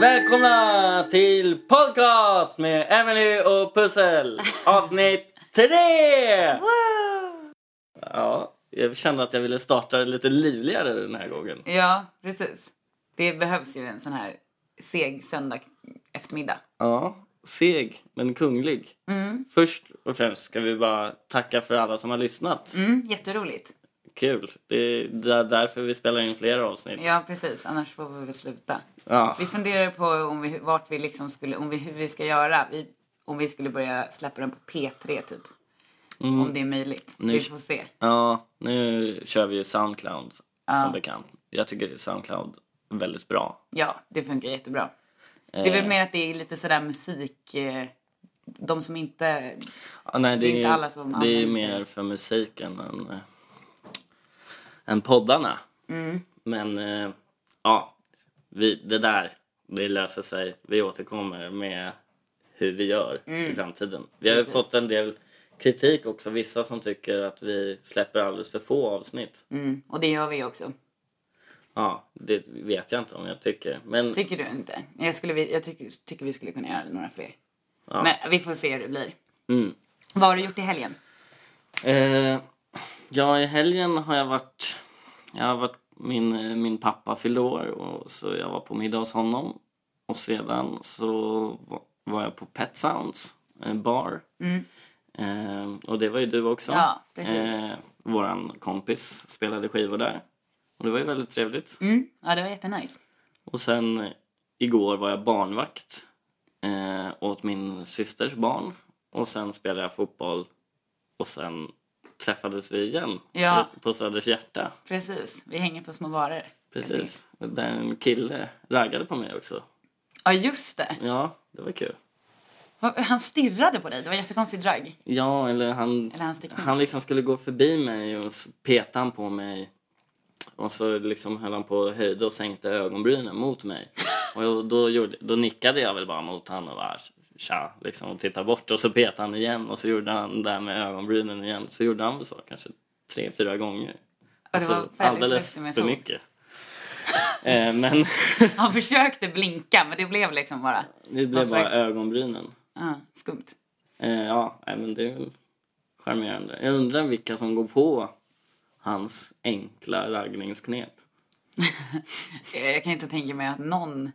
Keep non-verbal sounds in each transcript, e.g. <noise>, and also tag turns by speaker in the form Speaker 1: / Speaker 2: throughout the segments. Speaker 1: välkomna till podcast med Emily och Pussel avsnitt 3!
Speaker 2: Wow!
Speaker 1: Ja, jag kände att jag ville starta lite livligare den här gången.
Speaker 2: Ja, precis. Det behövs ju en sån här seg söndag eftermiddag.
Speaker 1: Ja, seg men kunglig. Först och främst ska vi bara tacka för alla som har lyssnat.
Speaker 2: Mm, jätteroligt.
Speaker 1: Kul! Det är där- därför vi spelar in flera avsnitt.
Speaker 2: Ja, precis. Annars får vi väl sluta.
Speaker 1: Ja.
Speaker 2: Vi funderar på om vi, vart vi liksom skulle, om vi, hur vi ska göra. Vi, om vi skulle börja släppa den på P3 typ. Om det är möjligt.
Speaker 1: Nu-
Speaker 2: Vi får se.
Speaker 1: Ja, nu kör vi ju Soundcloud som bekant. Jag tycker Soundcloud är väldigt bra.
Speaker 2: Ja, det funkar jättebra. Det är väl mer att det är lite sådär musik... eh, De som inte...
Speaker 1: Ja, nej, det,
Speaker 2: är inte
Speaker 1: ju-
Speaker 2: alla som
Speaker 1: Det är
Speaker 2: använder
Speaker 1: mer för musiken än, eh, än poddarna.
Speaker 2: Mm.
Speaker 1: Men eh, ja, vi, det där, det löser sig. Vi återkommer med hur vi gör i framtiden. Vi har ju
Speaker 2: Mm. Precis.
Speaker 1: fått en del kritik också. Vissa som tycker att vi släpper alldeles för få avsnitt.
Speaker 2: Mm, och det gör vi ju också.
Speaker 1: Ja, det vet jag inte om jag tycker. Men
Speaker 2: Tycker du inte? Jag, skulle, vi- jag tycker, tycker vi skulle kunna göra några fler. Men vi får se hur det blir.
Speaker 1: Mm.
Speaker 2: Vad har du gjort i helgen?
Speaker 1: Eh, ja, i helgen har jag varit... Jag har varit min, eh, min pappa fyllde år, och så jag var på middag hos honom. Och sedan så va- var jag på Pet Sounds eh, bar. Eh, och det var ju du också.
Speaker 2: Mm. Ja, precis.
Speaker 1: Eh, våran kompis spelade skivor där. Och det var ju väldigt trevligt.
Speaker 2: Mm. Ja, det var jättenice.
Speaker 1: Och sen eh, igår var jag barnvakt eh, åt min systers barn. Och sen spelade jag fotboll och sen träffades vi igen
Speaker 2: Ja.
Speaker 1: på- på Söders hjärta.
Speaker 2: Precis. Vi hänger på små varor.
Speaker 1: Precis. Där en kille raggade på mig också.
Speaker 2: Ja, just det.
Speaker 1: Ja, det var kul.
Speaker 2: Vad- Han stirrade på dig. Det var jättekonstigt drag.
Speaker 1: Ja, eller han,
Speaker 2: Eller han stickade.
Speaker 1: han liksom skulle gå förbi mig och s- petade han på mig. Och så liksom höll han på och höjde och sänkte ögonbrynen mot mig. Och jag- då, gjorde, då nickade jag väl bara mot honom och bara tja, liksom och tittade bort. Och så petade han igen och så gjorde han det här med ögonbrynen igen. Så gjorde han väl så kanske tre, fyra gånger.
Speaker 2: det var
Speaker 1: Alltså,
Speaker 2: väldigt
Speaker 1: alldeles
Speaker 2: häftig
Speaker 1: för
Speaker 2: metod.
Speaker 1: mycket. eh, men <laughs>
Speaker 2: Han försökte blinka, men det blev liksom bara...
Speaker 1: det
Speaker 2: Någon
Speaker 1: blev bara
Speaker 2: slags-
Speaker 1: ögonbrynen.
Speaker 2: Ja, skumt.
Speaker 1: Eh, ja, nej, men det är väl charmerande. Jag undrar vilka som går på hans enkla raggningsknep.
Speaker 2: Eh, Jag kan inte tänka mig att någon...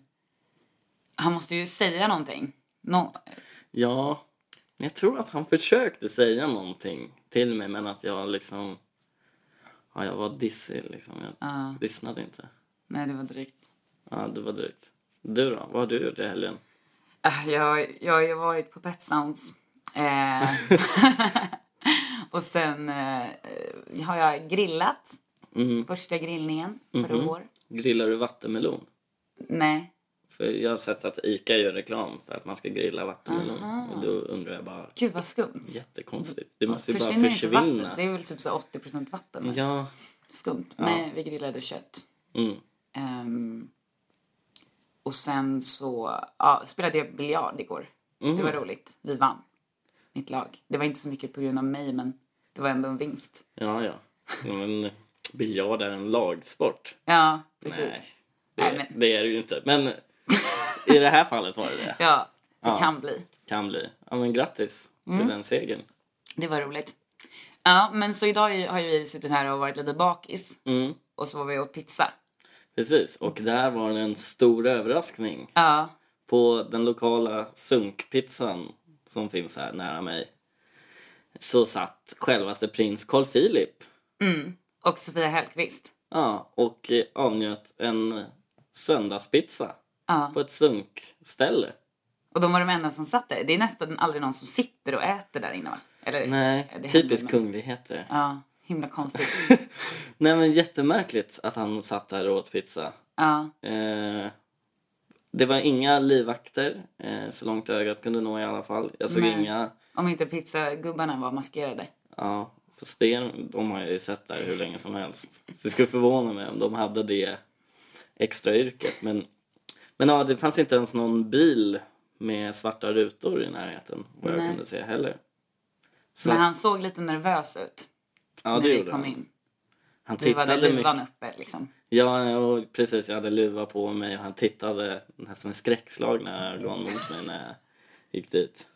Speaker 2: Han måste ju säga någonting. Nå...
Speaker 1: Ja, men jag tror att han försökte säga någonting till mig men att jag liksom... Ja, jag var dissig liksom. Jag
Speaker 2: Ja.
Speaker 1: lyssnade inte.
Speaker 2: Nej, det var drygt.
Speaker 1: Ja, det var drygt. Du då? Vad har du gjort i helgen?
Speaker 2: Ah, Jag, jag har ju varit på Pet Sounds.
Speaker 1: <laughs>
Speaker 2: Eh, och sen eh, har jag grillat.
Speaker 1: Mm.
Speaker 2: Första grillningen för
Speaker 1: Mm-hmm.
Speaker 2: i år.
Speaker 1: Grillar du vattenmelon?
Speaker 2: Nej.
Speaker 1: För jag har sett att ICA gör reklam för att man ska grilla vattenmelon. Och då undrar jag bara...
Speaker 2: Gud vad skumt.
Speaker 1: Jättekonstigt. Det måste ju bara
Speaker 2: Försvinner inte
Speaker 1: försvinna.
Speaker 2: vattnet? Det är väl typ så 80 vatten.
Speaker 1: Ja,
Speaker 2: Skumt. Nej, vi grillade kött.
Speaker 1: Mm.
Speaker 2: Ehm, och sen så ja, spelade jag biljard igår. Det
Speaker 1: Mm-hmm.
Speaker 2: var roligt. Vi vann. Mitt lag. Det var inte så mycket på grund av mig, men det var ändå en vinst.
Speaker 1: Ja, ja. Ja, Men biljard är en lagsport.
Speaker 2: Ja, precis.
Speaker 1: Nej, det,
Speaker 2: Nej, men-
Speaker 1: det är det ju inte.
Speaker 2: <laughs>
Speaker 1: Men i det här fallet var det det.
Speaker 2: Ja, det kan bli.
Speaker 1: Kan bli. Ja, men grattis
Speaker 2: Mm.
Speaker 1: till den segern.
Speaker 2: Det var roligt. Ja, men så idag ju- har ju vi suttit här och varit lite bakis.
Speaker 1: Mm,
Speaker 2: Och så var vi åt pizza.
Speaker 1: precis. Och där var det en stor överraskning.
Speaker 2: Ja,
Speaker 1: På den lokala sunkpizzan som finns här nära mig så satt självaste prins Carl Philip
Speaker 2: och Sofia Hellqvist.
Speaker 1: ja, och eh, avnjöt en söndagspizza
Speaker 2: Ja.
Speaker 1: på ett sunkställe.
Speaker 2: Och de var de enda som satt där. Det är nästan aldrig någon som sitter och äter där inne va? Eller?
Speaker 1: Nej,
Speaker 2: det
Speaker 1: typiskt
Speaker 2: händer
Speaker 1: kungligheter.
Speaker 2: Ja, himla konstigt.
Speaker 1: Nej men jättemärkligt att han satt där och åt pizza.
Speaker 2: Ja,
Speaker 1: Eh, det var inga livvakter, eh, så långt ögat kunde nå i alla fall. Jag såg
Speaker 2: Nej.
Speaker 1: inga...
Speaker 2: om inte pizzagubbarna var maskerade.
Speaker 1: Ja, fast det, de har jag ju sett där hur länge som helst. Så det skulle förvåna mig om de hade det extra yrket. Men, men ja, det fanns inte ens någon bil med svarta rutor i närheten vad jag
Speaker 2: Nej.
Speaker 1: kunde se heller. Så
Speaker 2: Men
Speaker 1: att-
Speaker 2: han såg lite nervös ut
Speaker 1: ja,
Speaker 2: när
Speaker 1: det
Speaker 2: vi
Speaker 1: gjorde
Speaker 2: kom
Speaker 1: han.
Speaker 2: in.
Speaker 1: Han
Speaker 2: Du hade
Speaker 1: tittade mycket.
Speaker 2: luvan uppe liksom.
Speaker 1: Ja, och precis. Jag hade luva på mig och han tittade nästan med skräckslagna ögon mot mig när jag gick dit.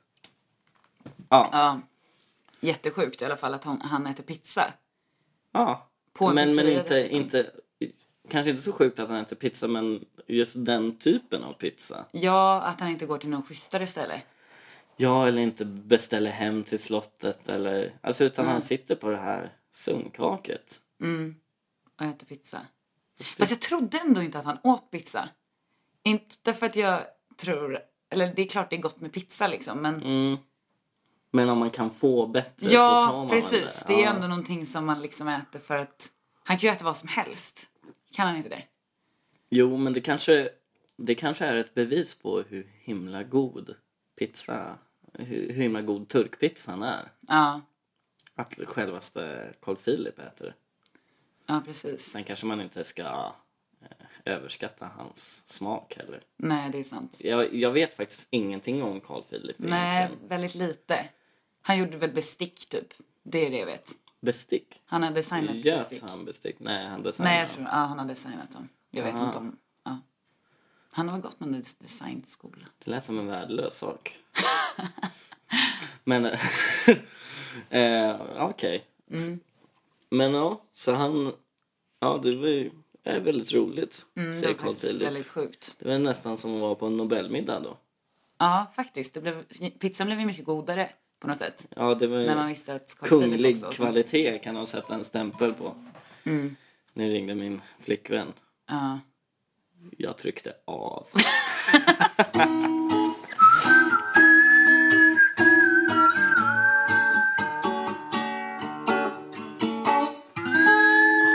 Speaker 1: Ja.
Speaker 2: Ja. Jättesjukt i alla fall att hon, han äter pizza.
Speaker 1: ja.
Speaker 2: På en
Speaker 1: men men
Speaker 2: pizzeria
Speaker 1: inte,
Speaker 2: dessutom.
Speaker 1: inte... Kanske inte så sjukt att han äter pizza, men just den typen av pizza.
Speaker 2: Ja, att han inte går till någon schysstare ställe.
Speaker 1: Ja, eller inte beställer hem till slottet eller... Alltså, utan han sitter på det här sunkvaket.
Speaker 2: och äter pizza. Fast jag trodde ändå inte att han åt pizza. Inte för att jag tror... Eller det är klart det är gott med pizza liksom men...
Speaker 1: Men om man kan få bättre Mm, så tar
Speaker 2: ja,
Speaker 1: man väl
Speaker 2: precis.
Speaker 1: det.
Speaker 2: Det är
Speaker 1: Ja.
Speaker 2: ändå någonting som man liksom äter för att... Han kan ju äta vad som helst. Kan han inte det?
Speaker 1: Jo, men det kanske, det kanske är ett bevis på hur himla god pizza, hur, hur himla god turkpizzan är.
Speaker 2: Ja,
Speaker 1: Att självaste Carl Philip äter det.
Speaker 2: ja precis.
Speaker 1: Sen kanske man inte ska eh, överskatta hans smak heller.
Speaker 2: Nej, det är sant.
Speaker 1: Jag, jag vet faktiskt ingenting om Carl Philip
Speaker 2: Nej,
Speaker 1: egentligen.
Speaker 2: väldigt lite. Han gjorde väl bestick typ. Det är det jag vet.
Speaker 1: Bestick?
Speaker 2: Han har designat
Speaker 1: Göt
Speaker 2: bestick.
Speaker 1: han bestick? Nej, han designade.
Speaker 2: Nej, jag tror, ja, han har designat dem. Jag vet inte om... Ja. Han har väl gått någon designskola.
Speaker 1: Det lät som en värdelös
Speaker 2: <laughs>
Speaker 1: sak. Men... eh, Okej. S-
Speaker 2: Mm.
Speaker 1: Men ja, så han... Ja, det var ju det är väldigt roligt,
Speaker 2: Mm, Det
Speaker 1: säger
Speaker 2: var
Speaker 1: Carl
Speaker 2: faktiskt
Speaker 1: Philip.
Speaker 2: väldigt sjukt.
Speaker 1: Det var nästan som att vara på en Nobelmiddag då.
Speaker 2: Ja, faktiskt. Det blev, pizzan blev ju mycket godare på något sätt.
Speaker 1: Ja, det var ju
Speaker 2: När man visste att Carl Philip
Speaker 1: kunglig
Speaker 2: också- Mm.
Speaker 1: kvalitet kan de sätta en stämpel på. Nu ringde min flickvän.
Speaker 2: Ja.
Speaker 1: Jag tryckte <laughs> av.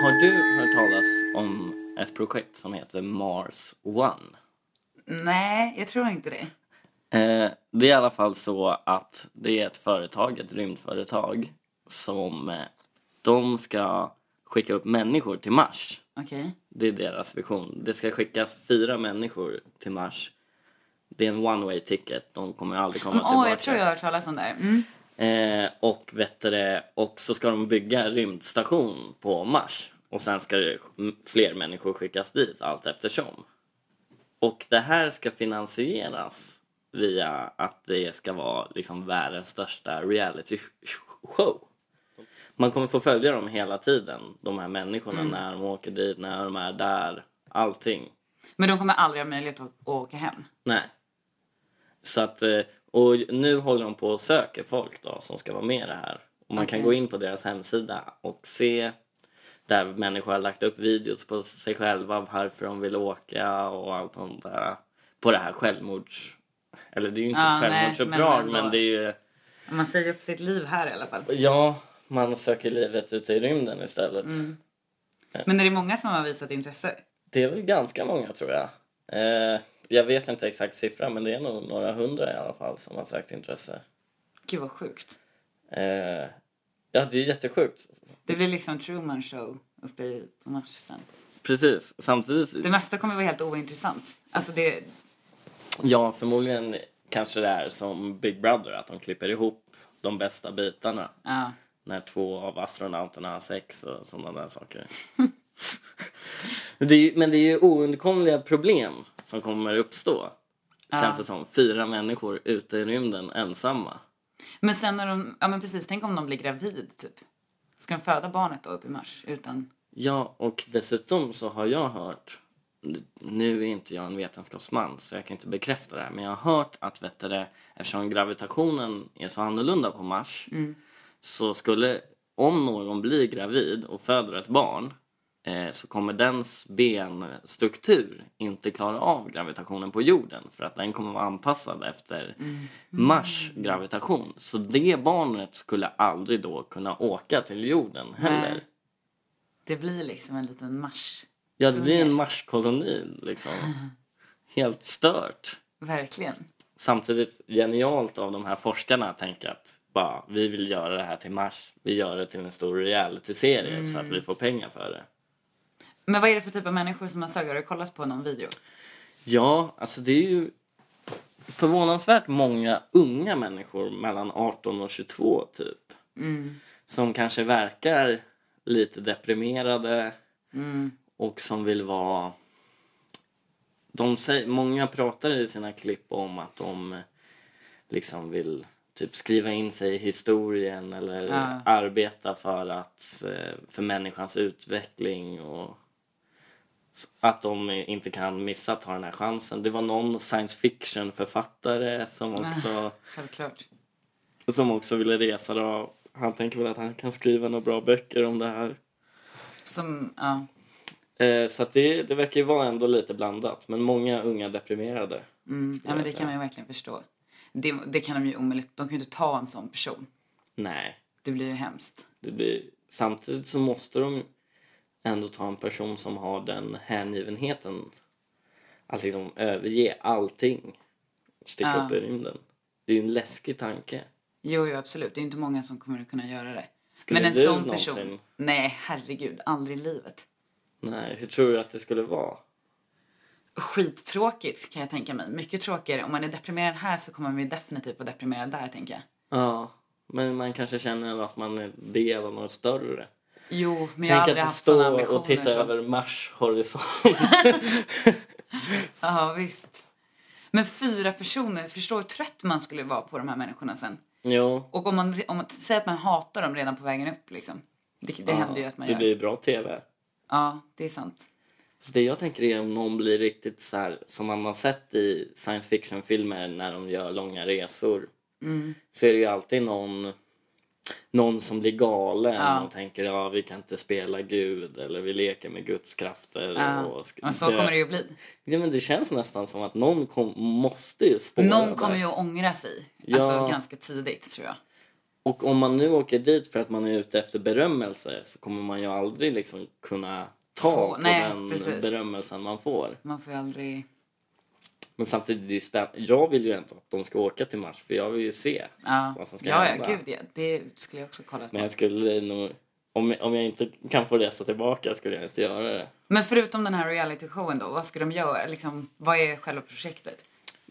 Speaker 1: Har du hört talas om ett projekt som heter Mars One?
Speaker 2: Nej, jag tror inte det.
Speaker 1: Eh, det är i alla fall så att det är ett företag, ett rymdföretag som eh, de ska skicka upp människor till Mars.
Speaker 2: Okej.
Speaker 1: Det är deras vision. Det ska skickas fyra människor till Mars. Det är en one way ticket. De kommer aldrig komma
Speaker 2: Åh,
Speaker 1: tillbaka.
Speaker 2: jag tror jag har hört talas om det. Mm.
Speaker 1: Eh, och, vet du det, och så ska de bygga en rymdstation på Mars. Och sen ska det m- fler människor skickas dit allt eftersom. Och det här ska finansieras via att det ska vara liksom världens största reality sh- show. Man kommer få följa dem hela tiden, de här människorna, när de åker dit, när de är där, allting.
Speaker 2: Men de kommer aldrig ha möjlighet att, att åka hem.
Speaker 1: Nej. Så att, eh, och nu håller de på och söker folk då som ska vara med i det här. Och man kan
Speaker 2: Okej.
Speaker 1: gå in på deras hemsida och se där människor har lagt upp videos på sig själva, varför de vill åka och allt sånt där. På det här självmords... Eller det är ju inte
Speaker 2: Ja,
Speaker 1: ett
Speaker 2: nej,
Speaker 1: självmordsuppdrag
Speaker 2: men
Speaker 1: men,
Speaker 2: ändå.
Speaker 1: det är ju...
Speaker 2: Man säger upp sitt liv här i alla fall.
Speaker 1: Ja, man söker livet ute i rymden istället.
Speaker 2: Mm. Men är det många som har visat intresse?
Speaker 1: Det är väl ganska många tror jag. Eh, jag vet inte exakt siffra men det är nog några hundra i alla fall som har sökt intresse.
Speaker 2: Gud vad sjukt.
Speaker 1: Eh, ja, det är jättesjukt.
Speaker 2: Det blir liksom Truman show uppe i, på Mars sen.
Speaker 1: Precis. Samtidigt,
Speaker 2: Det mesta kommer vara helt ointressant. Alltså det...
Speaker 1: ja, förmodligen kanske det är som Big Brother, att de klipper ihop de bästa bitarna.
Speaker 2: Ja.
Speaker 1: När två av astronauterna har sex och sådana där saker. <laughs> det är, ju- men det är ju oundkomliga problem som kommer uppstå. Känns det som. Fyra människor ute i rymden ensamma.
Speaker 2: Men sen när de... Ja men precis, tänk om de blir gravid typ. Ska de föda barnet då uppe i Mars utan...
Speaker 1: Ja, och dessutom så har jag hört... Nu är inte jag en vetenskapsman, så jag kan inte bekräfta det här. Men jag har hört att vet du, det, eftersom gravitationen är så annorlunda på Mars så skulle, om någon blir gravid och föder ett barn eh, så kommer dens benstruktur inte klara av gravitationen på jorden för att den kommer vara anpassad efter Mars gravitation. Så det barnet skulle aldrig då kunna åka till jorden heller.
Speaker 2: Nej. Det blir liksom en liten Mars.
Speaker 1: Ja, det blir en marskoloni liksom. Helt stört.
Speaker 2: Verkligen.
Speaker 1: Samtidigt genialt av de här forskarna att tänka att bara, vi vill göra det här till Mars. Vi gör det till en stor reality-serie så att vi får pengar för det.
Speaker 2: Men vad är det för typ av människor som man söker? Har du kollat på någon video?
Speaker 1: Ja, alltså det är ju förvånansvärt många unga människor mellan 18 och 22 typ. Som kanske verkar lite deprimerade och som vill vara... De säger, många pratar i sina klipp om att de liksom vill typ skriva in sig i historien eller
Speaker 2: Ja.
Speaker 1: arbeta för, att, eh, för människans utveckling och s- att de inte kan missa att ha den här chansen. Det var någon science fiction-författare som också,
Speaker 2: Självklart.
Speaker 1: som också ville resa. Då. Han tänker väl att han kan skriva några bra böcker om det här.
Speaker 2: Som, ja.
Speaker 1: Eh, så att det, det verkar ju vara ändå lite blandat. Men många unga deprimerade.
Speaker 2: Mm. ja men det kan man ju verkligen förstå. Det, det kan de ju omöjligt. De kan ju inte ta en sån person.
Speaker 1: Nej,
Speaker 2: Det blir ju hemskt.
Speaker 1: det blir... Samtidigt så måste de ändå ta en person som har den hängivenheten. Att liksom överge allting. och Sticka
Speaker 2: Ja.
Speaker 1: upp i rymden. Det är ju en läskig tanke.
Speaker 2: Jo, jo, absolut. Det är inte många som kommer att kunna göra det.
Speaker 1: Skulle
Speaker 2: men en
Speaker 1: du
Speaker 2: sån
Speaker 1: någonsin-
Speaker 2: person. Nej, herregud. Aldrig i livet.
Speaker 1: Nej, hur tror du att det skulle vara?
Speaker 2: Skittråkigt kan jag tänka mig. Mycket tråkigare. Om man är deprimerad här så kommer man ju definitivt vara deprimerad där, tänker jag.
Speaker 1: Ja, men man kanske känner att man är del av något större.
Speaker 2: Jo, men jag har
Speaker 1: Tänk
Speaker 2: aldrig
Speaker 1: att
Speaker 2: haft såna
Speaker 1: stå
Speaker 2: ambitioner.
Speaker 1: och titta
Speaker 2: så.
Speaker 1: över Mars horisont.
Speaker 2: Ja, visst. Men fyra personer, förstår hur trött man skulle vara på de här människorna sen.
Speaker 1: <laughs> jo,
Speaker 2: Och om man, om man säger att man hatar dem redan på vägen upp liksom. Det, det händer ju att man
Speaker 1: det
Speaker 2: gör.
Speaker 1: blir ju bra tv.
Speaker 2: Ja, det är sant.
Speaker 1: Så det jag tänker är om någon blir riktigt så här som man har sett i science fiction-filmer när de gör långa resor.
Speaker 2: Mm.
Speaker 1: Så är det ju alltid någon, någon som blir galen
Speaker 2: Ja.
Speaker 1: och tänker ja vi kan inte spela Gud eller vi leker med Guds krafter.
Speaker 2: Ja.
Speaker 1: Och sk-
Speaker 2: Men så kommer det ju bli.
Speaker 1: ja, men det känns nästan som att någon kom, måste ju spåra
Speaker 2: Någon
Speaker 1: det.
Speaker 2: kommer ju att ångra sig.
Speaker 1: Ja.
Speaker 2: Alltså ganska tidigt tror jag.
Speaker 1: Och om man nu åker dit för att man är ute efter berömmelse så kommer man ju aldrig liksom kunna ta
Speaker 2: Få-
Speaker 1: på
Speaker 2: nej,
Speaker 1: den
Speaker 2: precis.
Speaker 1: berömmelsen man får.
Speaker 2: Man får ju aldrig...
Speaker 1: Men samtidigt är det ju spännande. Jag vill ju ändå att de ska åka till Mars för jag vill ju se
Speaker 2: Ja,
Speaker 1: vad som ska
Speaker 2: ja, ja
Speaker 1: hända.
Speaker 2: gud ja. Det skulle jag också kolla på.
Speaker 1: Men jag skulle nog... Om, om jag inte kan få resa tillbaka skulle jag inte göra det.
Speaker 2: Men förutom den här reality-showen då, vad ska de göra? Liksom, vad är själva projektet?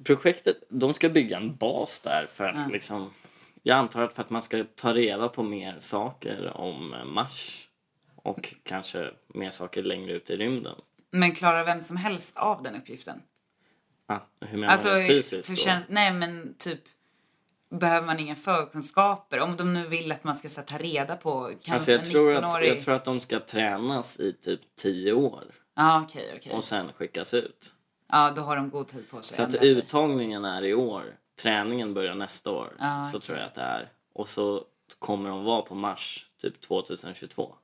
Speaker 1: Projektet, de ska bygga en bas där för att liksom... Jag antar att för att man ska ta reda på mer saker om eh, Mars och kanske mer saker längre ut i rymden.
Speaker 2: Men klarar vem som helst av den uppgiften?
Speaker 1: Ah, hur menar
Speaker 2: Alltså,
Speaker 1: du? Fysiskt
Speaker 2: hur
Speaker 1: då?
Speaker 2: känns, nej men typ Behöver man inga förkunskaper? Om de nu vill att man ska så, här, ta reda på... Kan
Speaker 1: Alltså
Speaker 2: en
Speaker 1: jag tror, att,
Speaker 2: 19-årig-
Speaker 1: jag tror att de ska tränas i typ tio år
Speaker 2: Ja, okej, okej.
Speaker 1: och sen skickas ut.
Speaker 2: Ja, då har de god tid på sig
Speaker 1: Så att
Speaker 2: ändra sig.
Speaker 1: uttagningen är i år, träningen börjar nästa år.
Speaker 2: Ja,
Speaker 1: så tror jag att det är. Och så kommer de vara på Mars typ 2022.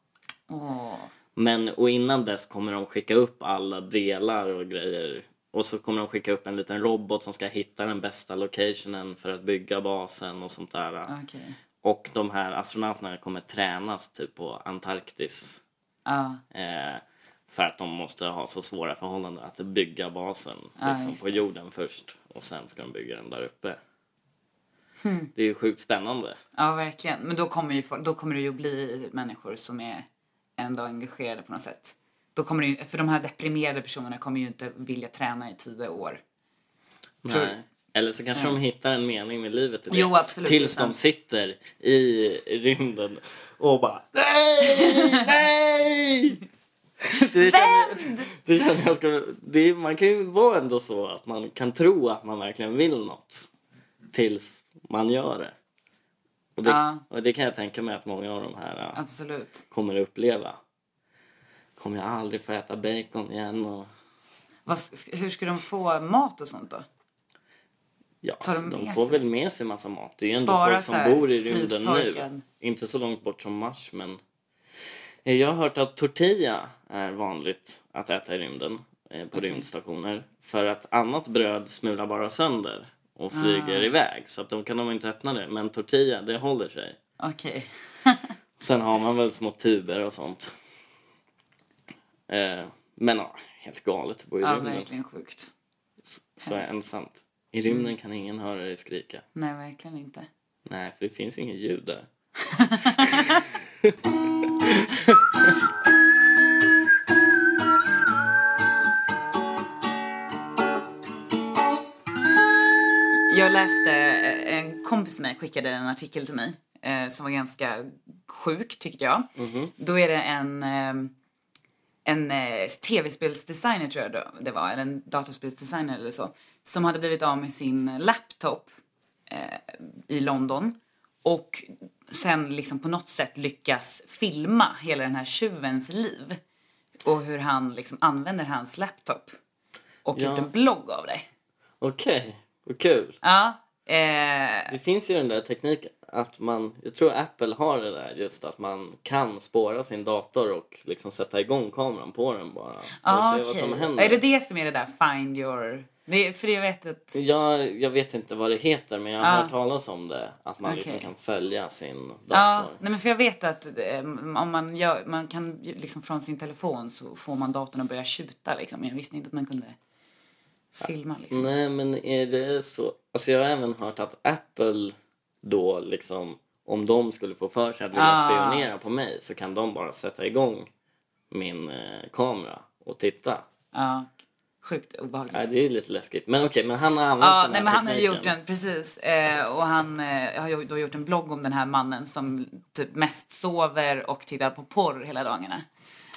Speaker 2: Åh.
Speaker 1: Men och innan dess kommer de skicka upp alla delar och grejer. Och så kommer de skicka upp en liten robot som ska hitta den bästa locationen för att bygga basen och sånt där.
Speaker 2: okej.
Speaker 1: Och de här astronauterna kommer tränas typ på Antarktis.
Speaker 2: Ja,
Speaker 1: Eh, för att de måste ha så svåra förhållanden att bygga basen liksom,
Speaker 2: just
Speaker 1: på jorden först och sen ska de bygga den där uppe. Det är ju sjukt spännande.
Speaker 2: ja, verkligen. Men då kommer, ju, folk- då kommer det ju bli människor som är ändå engagerade på något sätt. Då kommer det ju, för de här deprimerade personerna kommer ju inte vilja träna i tio år. Tror-
Speaker 1: Nej. Eller så kanske de hittar en mening med livet i det.
Speaker 2: Mm. Jo, absolut,
Speaker 1: Tills
Speaker 2: det är
Speaker 1: de
Speaker 2: sant.
Speaker 1: sitter i rymden och bara Nej!
Speaker 2: <laughs>
Speaker 1: Nej! Det känner, det känner jag ska, det, man kan ju vara ändå så att man kan tro att man verkligen vill något tills man gör det. Och det,
Speaker 2: Ja.
Speaker 1: och det kan jag tänka mig att många av de här ja,
Speaker 2: Absolut.
Speaker 1: kommer att uppleva. Kommer jag aldrig få äta bacon igen? Och,
Speaker 2: Vad, hur ska de få mat och sånt då?
Speaker 1: Ja,
Speaker 2: Tar de
Speaker 1: alltså, de
Speaker 2: med
Speaker 1: får
Speaker 2: sig?
Speaker 1: väl med sig massa mat. Det är ju ändå
Speaker 2: Bara
Speaker 1: folk
Speaker 2: så
Speaker 1: som
Speaker 2: här
Speaker 1: bor i rymden
Speaker 2: frystorkad.
Speaker 1: nu. Inte så långt bort som Mars, men... Eh, Jag har hört att tortilla är vanligt att äta i rymden eh, på rymdstationer. För att annat bröd smular bara sönder och flyger
Speaker 2: Ah.
Speaker 1: iväg. Så att de kan de inte öppna det. Men tortilla, det håller sig.
Speaker 2: Okej.
Speaker 1: Sen har man väl små tuber och sånt. Eh, men ja, helt galet att bo i
Speaker 2: Ja,
Speaker 1: rymden.
Speaker 2: verkligen sjukt.
Speaker 1: Så ensamt. I rymden kan ingen höra dig skrika.
Speaker 2: Nej, verkligen inte.
Speaker 1: Nej, för det finns inget ljud där.
Speaker 2: Jag läste, en kompis till mig skickade en artikel till mig eh, som eh, var ganska sjuk tyckte jag. Då är det en, ehm, en eh, tv-spelsdesigner tror jag då det var, eller en datorspelsdesigner eller så, som hade blivit av med sin laptop eh, i London och sen liksom på något sätt lyckas filma hela den här tjuvens liv och hur han liksom använder hans laptop och
Speaker 1: Ja.
Speaker 2: gjort en blogg av det.
Speaker 1: Okej, vad kul.
Speaker 2: Ja, eh,
Speaker 1: Det finns ju den där tekniken att man, jag tror Apple har det där just att man kan spåra sin dator och liksom sätta igång kameran på den bara och
Speaker 2: Ja,
Speaker 1: se vad som
Speaker 2: Ah, okej.
Speaker 1: händer.
Speaker 2: Är det det som är det där find your... Det är, för jag vet att...
Speaker 1: Jag, jag vet inte vad det heter men jag har
Speaker 2: Ja.
Speaker 1: hört talas om det. Att man liksom
Speaker 2: Ah. Okej. Ah.
Speaker 1: kan följa sin dator.
Speaker 2: Ja, nej men för jag vet att eh, om man, gör, man kan ju liksom från sin telefon så får man datorn att börja tjuta liksom. Men jag visste inte att man kunde filma liksom.
Speaker 1: Nej men är det så? Alltså jag har även hört att Apple då liksom om de skulle få för sig att vilja
Speaker 2: Ah.
Speaker 1: spionera på mig så kan de bara sätta igång min eh, kamera och titta.
Speaker 2: Ja, sjukt obehagligt.
Speaker 1: Nej, det är ju lite läskigt. Men okej, men han har använt
Speaker 2: Ja,
Speaker 1: den
Speaker 2: Ah, nej,
Speaker 1: här
Speaker 2: men han har ju
Speaker 1: tekniken.
Speaker 2: gjort en, precis. Eh, och han eh, har ju då gjort en blogg om den här mannen som typ mest sover och tittar på porr hela dagarna.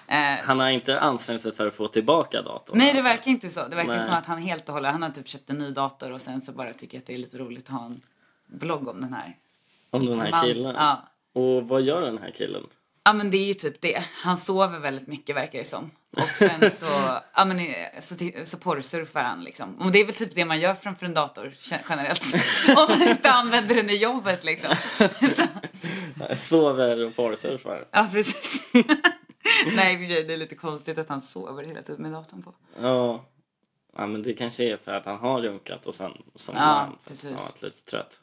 Speaker 2: Eh,
Speaker 1: Han har inte ansträngt sig för att få tillbaka datorn.
Speaker 2: Nej, det
Speaker 1: alltså.
Speaker 2: verkar inte så. Det verkar
Speaker 1: Nej.
Speaker 2: som att han helt och hållet, han har typ köpt en ny dator och sen så bara tycker jag att det är lite roligt att ha en blogg om den här.
Speaker 1: Om den här
Speaker 2: man-
Speaker 1: killen.
Speaker 2: ja.
Speaker 1: Och vad gör den här killen? <laughs>
Speaker 2: Ja men det är ju typ det. Han sover väldigt mycket verkar det som. Och sen så, ja men eh, så, ti- så porrsurfar han liksom. Och det är väl typ det man gör framför en dator gen- generellt. om man inte använder den i jobbet liksom. Så,
Speaker 1: Sover och porrsurfar.
Speaker 2: ja precis. <laughs> Nej i och för sig, det är lite konstigt att han sover hela tiden med datorn på.
Speaker 1: Ja. ja, men det kanske är för att han har runkat och sen somnar
Speaker 2: Ja,
Speaker 1: han för att han
Speaker 2: precis.
Speaker 1: har varit lite
Speaker 2: <laughs>
Speaker 1: trött.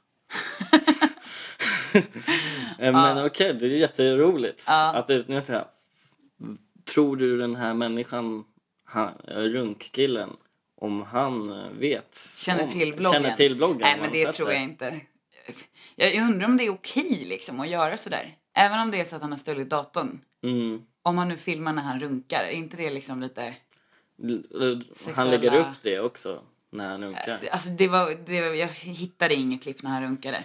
Speaker 1: Eh, men okej, det är jätteroligt att utnyttja. det. Tror du den här människan, han, eh, runkkillen, om han eh, vet?
Speaker 2: Känner
Speaker 1: om,
Speaker 2: till bloggen?
Speaker 1: Känner till bloggen?
Speaker 2: Nej,
Speaker 1: om
Speaker 2: men
Speaker 1: han
Speaker 2: det
Speaker 1: sett
Speaker 2: tror jag inte. Jag undrar om det är okej liksom att göra sådär. Även om det är så att han har stulit datorn.
Speaker 1: Mm.
Speaker 2: Om han nu filmar när han runkar, är inte det liksom lite...
Speaker 1: L- l- Han
Speaker 2: Sexuella-
Speaker 1: lägger upp det också när han runkar.
Speaker 2: Alltså det var, det, var- jag hittade inget klipp när han runkade.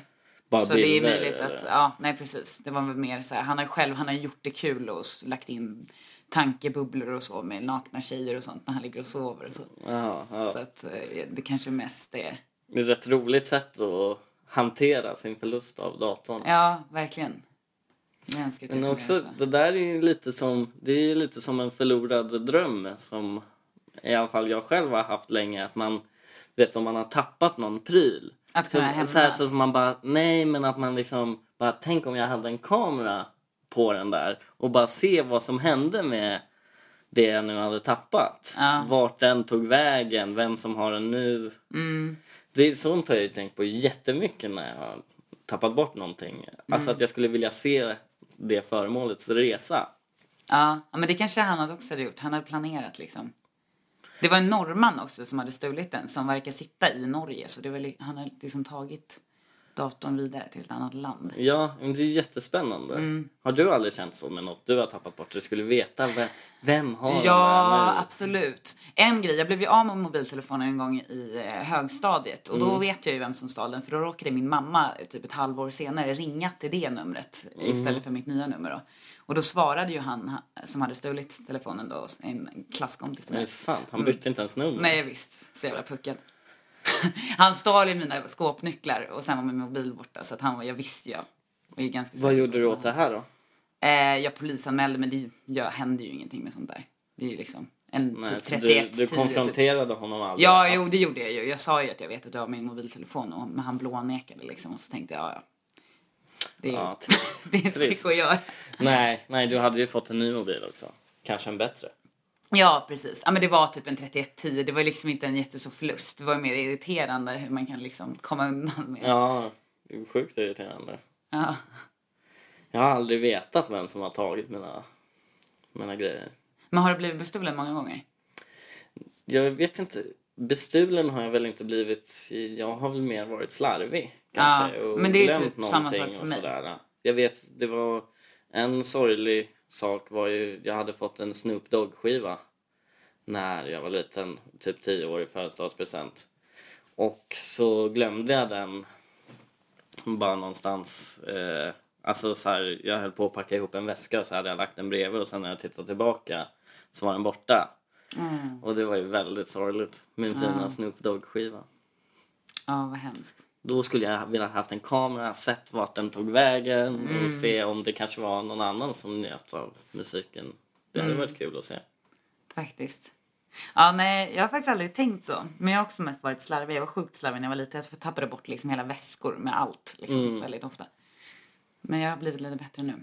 Speaker 1: Bara
Speaker 2: så det är
Speaker 1: bilder,
Speaker 2: möjligt att,
Speaker 1: eller?
Speaker 2: ja, nej precis. Det var väl mer så här, han har ju själv, han har gjort det kul och s- lagt in tankebubblor och så med nakna tjejer och sånt när han ligger och sover och så.
Speaker 1: Ja, ja.
Speaker 2: Så att eh, det kanske mest är,
Speaker 1: Det är ett rätt roligt sätt att hantera sin förlust av datorn.
Speaker 2: ja verkligen. Jag önskar att jag
Speaker 1: Men
Speaker 2: kunde
Speaker 1: också,
Speaker 2: göra så.
Speaker 1: det där är ju lite som, det är ju lite som en förlorad dröm som i alla fall jag själv har haft länge. Att man, du vet om man har tappat någon pryl.
Speaker 2: Att kunna
Speaker 1: så,
Speaker 2: hämnas.
Speaker 1: så här så att man bara, nej men att man liksom, bara tänk om jag hade en kamera på den där och bara se vad som hände med det jag nu hade tappat.
Speaker 2: Ja.
Speaker 1: Vart den tog vägen, vem som har den nu.
Speaker 2: Mm.
Speaker 1: Det är sånt har jag ju tänkt på jättemycket när jag har tappat bort någonting.
Speaker 2: Mm.
Speaker 1: Alltså att jag skulle vilja se det föremålets resa.
Speaker 2: Ja, ja, men det kanske han också hade gjort. Han hade planerat liksom. Det var en norrman också som hade stulit den som verkar sitta i Norge så det var li- han hade liksom tagit datorn vidare till ett annat land.
Speaker 1: Ja, men det är jättespännande.
Speaker 2: Mm.
Speaker 1: Har du aldrig känt så med något du har tappat bort? Du skulle veta vem, vem har den
Speaker 2: Ja,
Speaker 1: där nu?
Speaker 2: absolut. En grej, jag blev ju av med mobiltelefonen en gång i eh, högstadiet och
Speaker 1: Mm.
Speaker 2: då vet jag ju vem som stal den för då råkade min mamma eh, typ ett halvår senare ringa till det numret
Speaker 1: Mm.
Speaker 2: istället för mitt nya nummer då. Och då svarade ju han ha- som hade stulit telefonen då, en klasskompis till
Speaker 1: Är
Speaker 2: mig.
Speaker 1: det sant? Han bytte inte ens nummer?
Speaker 2: Nej visst, så jävla puckad. <laughs> han stal ju mina skåpnycklar och sen var min mobil borta så att han var, jag visste jag. Och jag är ganska
Speaker 1: Vad
Speaker 2: säker
Speaker 1: gjorde
Speaker 2: på
Speaker 1: du
Speaker 2: att
Speaker 1: åt det här då?
Speaker 2: han- Eh, jag polisanmälde men det är ju- jag händer ju ingenting med sånt där. Det är ju liksom en typ
Speaker 1: så
Speaker 2: 31
Speaker 1: du, du
Speaker 2: typ.
Speaker 1: konfronterade honom aldrig?
Speaker 2: Ja, jo det gjorde jag ju. Jag sa ju att jag vet att du har min mobiltelefon och men han blånekade liksom och så tänkte jag ja, ja. Det är, ju-
Speaker 1: Ja,
Speaker 2: <laughs> det är inte
Speaker 1: trist.
Speaker 2: mycket att göra.
Speaker 1: Nej, nej, du hade ju fått en ny mobil också. Kanske en bättre.
Speaker 2: Ja, precis. Ja, men det var typ en 3110. Det var liksom inte en jättestor förlust. Det var mer irriterande hur man kan liksom komma undan med.
Speaker 1: Ja, det är sjukt irriterande.
Speaker 2: Ja.
Speaker 1: Jag har aldrig vetat vem som har tagit mina, mina grejer.
Speaker 2: Men har du blivit bestulen många gånger?
Speaker 1: Jag vet inte. Bestulen har jag väl inte blivit. Jag har väl mer varit slarvig kanske.
Speaker 2: Ja,
Speaker 1: och
Speaker 2: men det är
Speaker 1: glömt
Speaker 2: typ
Speaker 1: någonting
Speaker 2: samma sak för
Speaker 1: och
Speaker 2: mig.
Speaker 1: sådär. Jag vet, det var en sorglig sak var ju, jag hade fått en Snoop Dogg-skiva när jag var liten, typ 10 år i födelsedagspresent. Och så glömde jag den bara någonstans. Eh, Alltså så här, jag höll på att packa ihop en väska och så hade jag lagt den bredvid och sen när jag tittade tillbaka så var den borta.
Speaker 2: Mm.
Speaker 1: Och det var ju väldigt sorgligt. Min fina Snoop Dogg-skiva.
Speaker 2: Ja, vad hemskt.
Speaker 1: Då skulle jag vilja haft en kamera, sett vart den tog vägen och se om det kanske var någon annan som njöt av musiken. Det hade varit kul att se.
Speaker 2: Faktiskt. Ja, nej, jag har faktiskt aldrig tänkt så. Men jag har också mest varit slarvig. Jag var sjukt slarvig när jag var liten. Jag tappade bort liksom hela väskor med allt liksom,
Speaker 1: Mm.
Speaker 2: väldigt ofta. Men jag har blivit lite bättre nu.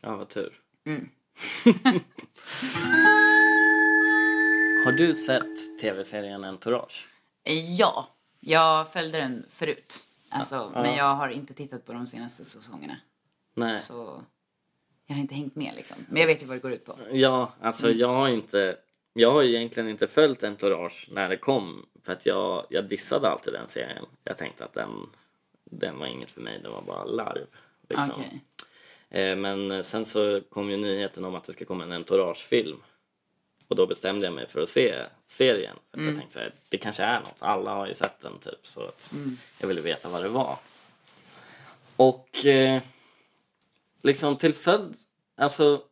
Speaker 1: Ja, vad tur. <laughs> Har du sett tv-serien Entourage?
Speaker 2: Ja, jag följde den förut. Alltså, Men jag har inte tittat på de senaste säsongerna.
Speaker 1: Nej.
Speaker 2: Så jag har inte hängt med liksom. Men jag vet ju vad det går ut på.
Speaker 1: Ja, alltså jag har inte... Jag har ju egentligen inte följt Entourage när det kom för att jag, jag dissade alltid den serien. Jag tänkte att den, den var inget för mig, det var bara larv. Liksom.
Speaker 2: Okej.
Speaker 1: Eh, Men sen så kom ju nyheten om att det ska komma en Entourage-film. Och då bestämde jag mig för att se serien. För att Jag tänkte så här, det kanske är något, alla har ju sett den typ. Så att jag ville veta vad det var. Och eh, liksom till följd, alltså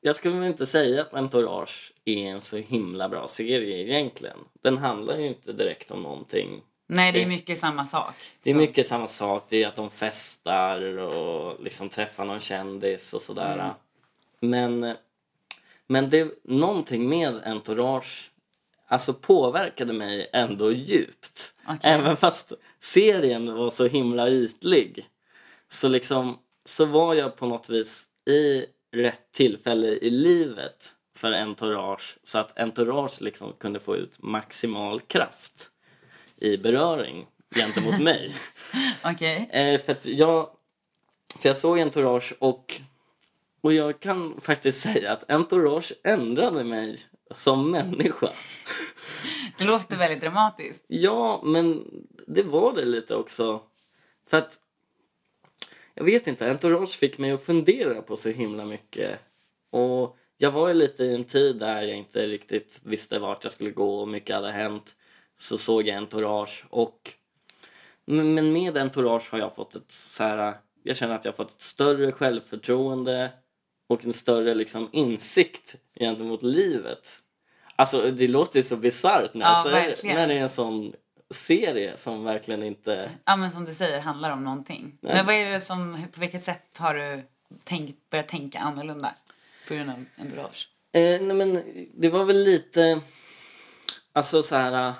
Speaker 1: jag skulle väl inte säga att Entourage är en så himla bra serie egentligen. Den handlar ju inte direkt om någonting
Speaker 2: Nej, det är
Speaker 1: Det-
Speaker 2: mycket samma sak.
Speaker 1: det är
Speaker 2: Så-
Speaker 1: mycket samma sak. Det är att de festar och liksom träffar någon kändis och sådär.
Speaker 2: Mm.
Speaker 1: Men, men det, någonting med Entourage alltså påverkade mig ändå djupt.
Speaker 2: Okej.
Speaker 1: Även fast serien var så himla ytlig. Så liksom, så var jag på något vis i rätt tillfälle i livet för Entourage. Så att Entourage liksom kunde få ut maximal kraft i beröring
Speaker 2: <laughs>
Speaker 1: gentemot mig.
Speaker 2: Okej.
Speaker 1: Eh, för att jag, för jag såg Entourage och, och jag kan faktiskt <laughs> säga att Entourage ändrade mig som människa.
Speaker 2: Det låter väldigt dramatiskt.
Speaker 1: Ja, men det var det lite också. För att, jag vet inte, Entourage fick mig att fundera på så himla mycket. Och jag var ju lite i en tid där jag inte riktigt visste vart jag skulle gå och mycket hade hänt. Så såg jag Entourage och... Men men med Entourage har jag fått ett så här... Jag känner att jag har fått ett större självförtroende och en större liksom insikt gentemot livet. Alltså det låter ju så bisarrt när,
Speaker 2: Ja,
Speaker 1: jag säger det,
Speaker 2: verkligen.
Speaker 1: när det är en sån serie som verkligen inte...
Speaker 2: Ja, men som du säger, handlar om någonting. Men vad är det som, på vilket sätt har du tänkt, börjat tänka annorlunda på grund av entourage?
Speaker 1: Eh, nej men det var väl lite... Alltså så här... eh,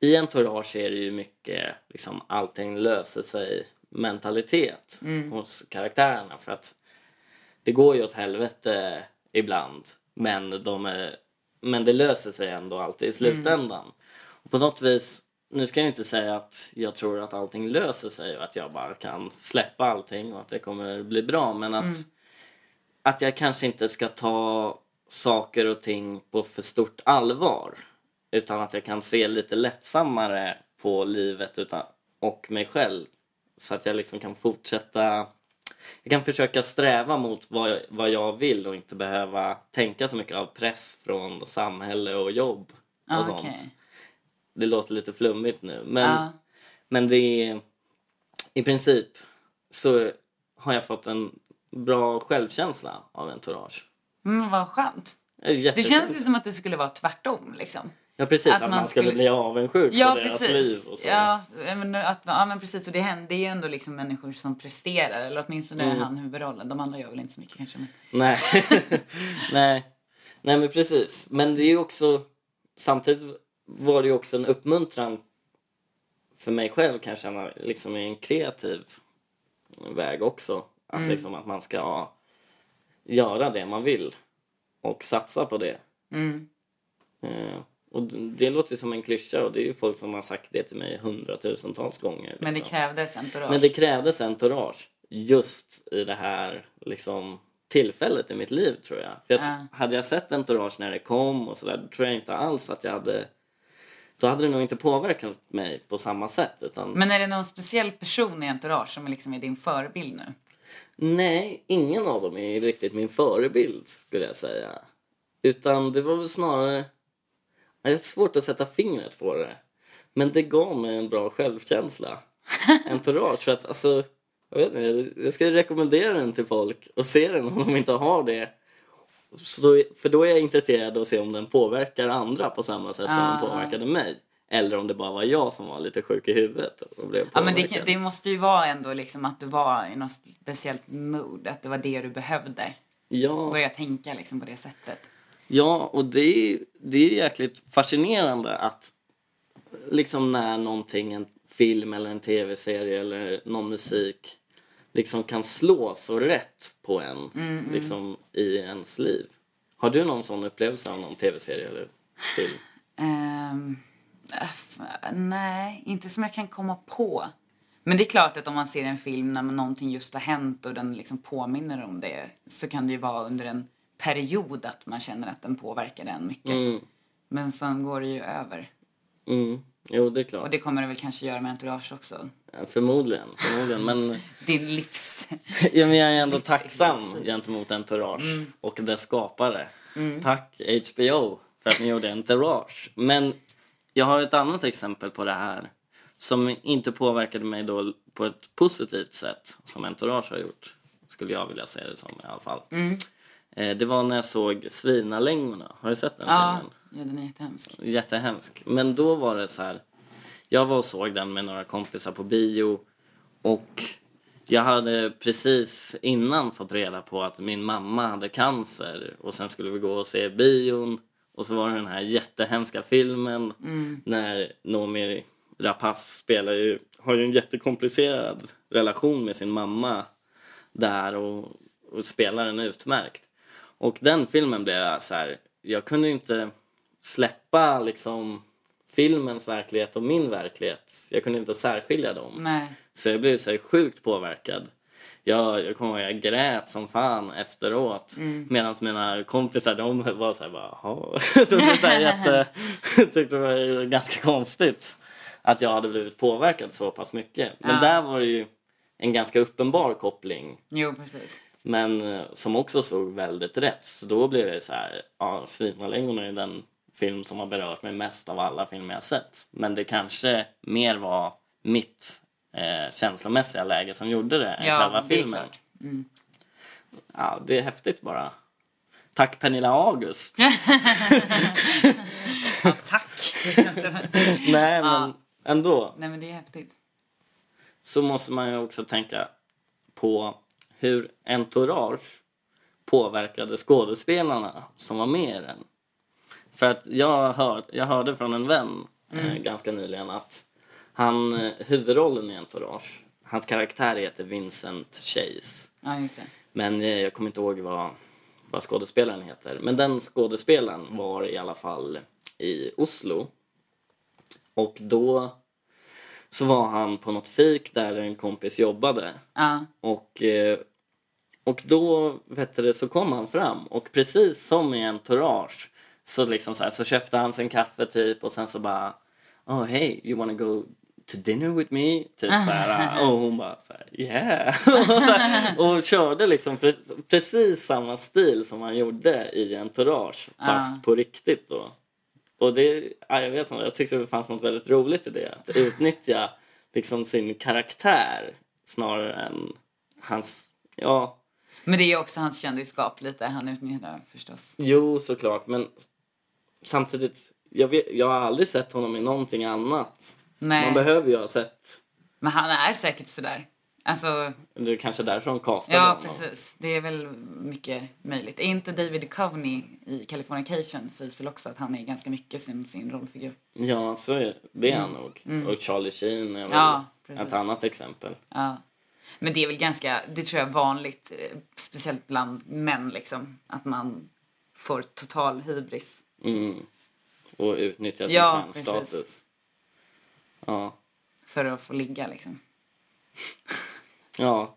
Speaker 1: I entourage är det ju mycket liksom allting löser sig mentalitet hos karaktärerna. För att det går ju åt helvete ibland. Men, de är, men det löser sig ändå alltid i slutändan. Och på något vis, nu ska jag inte säga att jag tror att allting löser sig och att jag bara kan släppa allting och att det kommer bli bra. Men att att jag kanske inte ska ta saker och ting på för stort allvar. Utan att jag kan se lite lättsammare på livet utan, och mig själv. Så att jag liksom kan fortsätta... Jag kan försöka sträva mot vad jag, vad jag vill och inte behöva tänka så mycket av press från samhälle och jobb. Och
Speaker 2: Ja,
Speaker 1: sånt.
Speaker 2: Ah, okej. Ah.
Speaker 1: Det låter lite flummigt nu. Men,
Speaker 2: Ja.
Speaker 1: men det är... I princip så har jag fått en bra självkänsla av entourage.
Speaker 2: Mm, vad skönt.
Speaker 1: Det, är
Speaker 2: Det
Speaker 1: jättefint.
Speaker 2: känns ju som att det skulle vara tvärtom liksom.
Speaker 1: Ja precis,
Speaker 2: att
Speaker 1: att, man,
Speaker 2: man
Speaker 1: skulle
Speaker 2: skulle-
Speaker 1: bli avundsjuk
Speaker 2: Ja,
Speaker 1: på deras
Speaker 2: precis.
Speaker 1: liv och så.
Speaker 2: Ja, men, att, ja, men precis. Och det händer ju ändå liksom människor som presterar. Eller åtminstone
Speaker 1: Mm.
Speaker 2: är han huvudrollen. De andra gör väl inte så mycket kanske. Men...
Speaker 1: Nej. <laughs> Nej. Nej men precis. Men det är ju också... Samtidigt var det ju också en uppmuntran för mig själv kan jag känna, liksom i en kreativ väg också. Att
Speaker 2: Mm.
Speaker 1: liksom att man ska göra det man vill och satsa på det.
Speaker 2: Mm.
Speaker 1: Eh, och det låter ju som en klyscha och det är ju folk som har sagt det till mig hundratusentals gånger. Liksom.
Speaker 2: Men det krävdes entourage.
Speaker 1: Men det krävdes entourage just i det här liksom, tillfället i mitt liv tror jag. För jag
Speaker 2: Ja.
Speaker 1: Hade jag sett entourage när det kom och sådär, då tror jag inte alls att jag hade... Då hade det nog inte påverkat mig på samma sätt. Utan,
Speaker 2: Men är det någon speciell person i entourage som liksom är din förebild nu?
Speaker 1: Nej, ingen av dem är riktigt min förebild skulle jag säga. Utan det var väl snarare... Jag har svårt att sätta fingret på
Speaker 2: <laughs>
Speaker 1: det. Men det gav mig en bra självkänsla. Entourage. För att alltså, Jag vet inte, jag ska rekommendera den till folk och se den om de inte har det. Så då, för då är jag intresserad av att se om den påverkar andra på samma sätt som
Speaker 2: Ah.
Speaker 1: den påverkade mig. Eller om det bara var jag som var lite sjuk i huvudet och blev
Speaker 2: Ja, men
Speaker 1: påverkad.
Speaker 2: det, det måste ju vara ändå liksom att du var i något speciellt mood, att det var det du behövde.
Speaker 1: ja.
Speaker 2: Börja tänka liksom på det sättet.
Speaker 1: Ja, och det är, det är jäkligt fascinerande att liksom när någonting, en film eller en tv-serie eller någon musik liksom kan slå så rätt på en liksom i ens liv. Har du någon sån upplevelse av någon tv-serie eller film?
Speaker 2: Ehm, f- nej, inte som jag kan komma på. Men det är klart att om man ser en film när någonting just har hänt och den liksom påminner om det så kan det ju vara under en period att man känner att den påverkar en mycket.
Speaker 1: Mm,
Speaker 2: Men sen går det ju över.
Speaker 1: mm. Jo, det är
Speaker 2: Och
Speaker 1: klart.
Speaker 2: det kommer det väl kanske göra med Entourage också.
Speaker 1: Ja, Förmodligen. förmodligen. Men,
Speaker 2: Din livs...
Speaker 1: ja, men jag är ändå
Speaker 2: Livs-
Speaker 1: tacksam
Speaker 2: livsstil.
Speaker 1: gentemot Entourage och dess skapare. Tack HBO för att ni gjorde Entourage. Men jag har ett annat exempel på det här som inte påverkade mig då på ett positivt sätt som Entourage har gjort. Skulle jag vilja säga det som i alla fall. Eh, Det var när jag såg Svinalängorna. Har du sett den
Speaker 2: Ja,
Speaker 1: filmen?
Speaker 2: ja, den är jättehemsk.
Speaker 1: jättehemsk. Men då var det så här. Jag var och såg den med några kompisar på bio och jag hade precis innan fått reda på att min mamma hade cancer och sen skulle vi gå och se bion och så var det den här jättehemska filmen när Noomi Rapace spelar ju, har ju en jättekomplicerad relation med sin mamma där och, och spelar den utmärkt. Och den filmen blev jag så här, jag kunde ju inte släppa liksom filmens verklighet och min verklighet. Jag kunde inte särskilja dem.
Speaker 2: Nej.
Speaker 1: Så jag blev så här sjukt påverkad. Jag, jag kommer ihåg jag grät som fan efteråt
Speaker 2: Mm.
Speaker 1: medan mina kompisar de var så här bara "Jaha." <laughs> så det var så här
Speaker 2: <laughs>
Speaker 1: jätte, <laughs> tyckte det var ganska konstigt att jag hade blivit påverkad så pass mycket. Men
Speaker 2: Ja.
Speaker 1: där var det ju en ganska uppenbar koppling
Speaker 2: Jo, precis.
Speaker 1: men eh, som också såg väldigt rätt. Så då blev jag så här, ja, Svinalängorna är den film som har berört mig mest av alla filmer jag sett. Men det kanske mer var mitt eh, känslomässiga läge som gjorde det än
Speaker 2: Ja,
Speaker 1: själva
Speaker 2: det är
Speaker 1: filmen.
Speaker 2: klart.
Speaker 1: Ja, det är häftigt bara. Tack Pernilla
Speaker 2: <laughs>
Speaker 1: August! <laughs>
Speaker 2: Ja, tack! <laughs>
Speaker 1: Nej, men ändå.
Speaker 2: Nej, men det är häftigt.
Speaker 1: så måste man ju också tänka på hur entourage påverkade skådespelarna som var med i den. För att jag, hör, jag hörde från en vän eh, ganska nyligen att han, eh, huvudrollen i entourage, hans karaktär heter Vincent Chase.
Speaker 2: Ja, just det.
Speaker 1: Men eh, jag kommer inte ihåg vad, vad skådespelaren heter. Men den skådespelaren var i alla fall i Oslo. Och då så var han på något fik där en kompis jobbade.
Speaker 2: Ja.
Speaker 1: Och, eh, och då vet du, så kom han fram och precis som i Entourage så, liksom så, här, så köpte han sin kaffe typ och sen så bara Oh hey, you wanna go to dinner with me? Typ så här, och hon bara så här, yeah! <laughs> och, så här, och körde liksom pre- precis samma stil som han gjorde i Entourage fast
Speaker 2: Ah.
Speaker 1: på riktigt då. Och det, ja, jag vet inte, jag tyckte det fanns något väldigt roligt i det. Att utnyttja liksom sin karaktär snarare än hans, ja,
Speaker 2: Men det är ju också hans kändisskap lite. Han utnyttjar det förstås.
Speaker 1: jo såklart men samtidigt, jag, vet, jag har aldrig sett honom i någonting annat. Man
Speaker 2: Nej,
Speaker 1: behöver ju ha sett,
Speaker 2: men han är säkert sådär. Alltså,
Speaker 1: det är kanske därför de castade
Speaker 2: ja
Speaker 1: honom.
Speaker 2: precis. Det är väl mycket möjligt. Är inte David Coveney i Californication sägs väl också att han är ganska mycket sin, sin rollfigur.
Speaker 1: Ja, så är det är han nog. Och Charlie Sheen är väl
Speaker 2: Mm. Ja, precis.
Speaker 1: ett annat exempel.
Speaker 2: Ja. Men det är väl ganska, det tror jag är vanligt, eh, speciellt bland män liksom, att man får total hybris.
Speaker 1: Mm. Och utnyttja sin
Speaker 2: Ja,
Speaker 1: fanstatus.
Speaker 2: precis.
Speaker 1: Ja,
Speaker 2: för att få ligga liksom.
Speaker 1: Ja.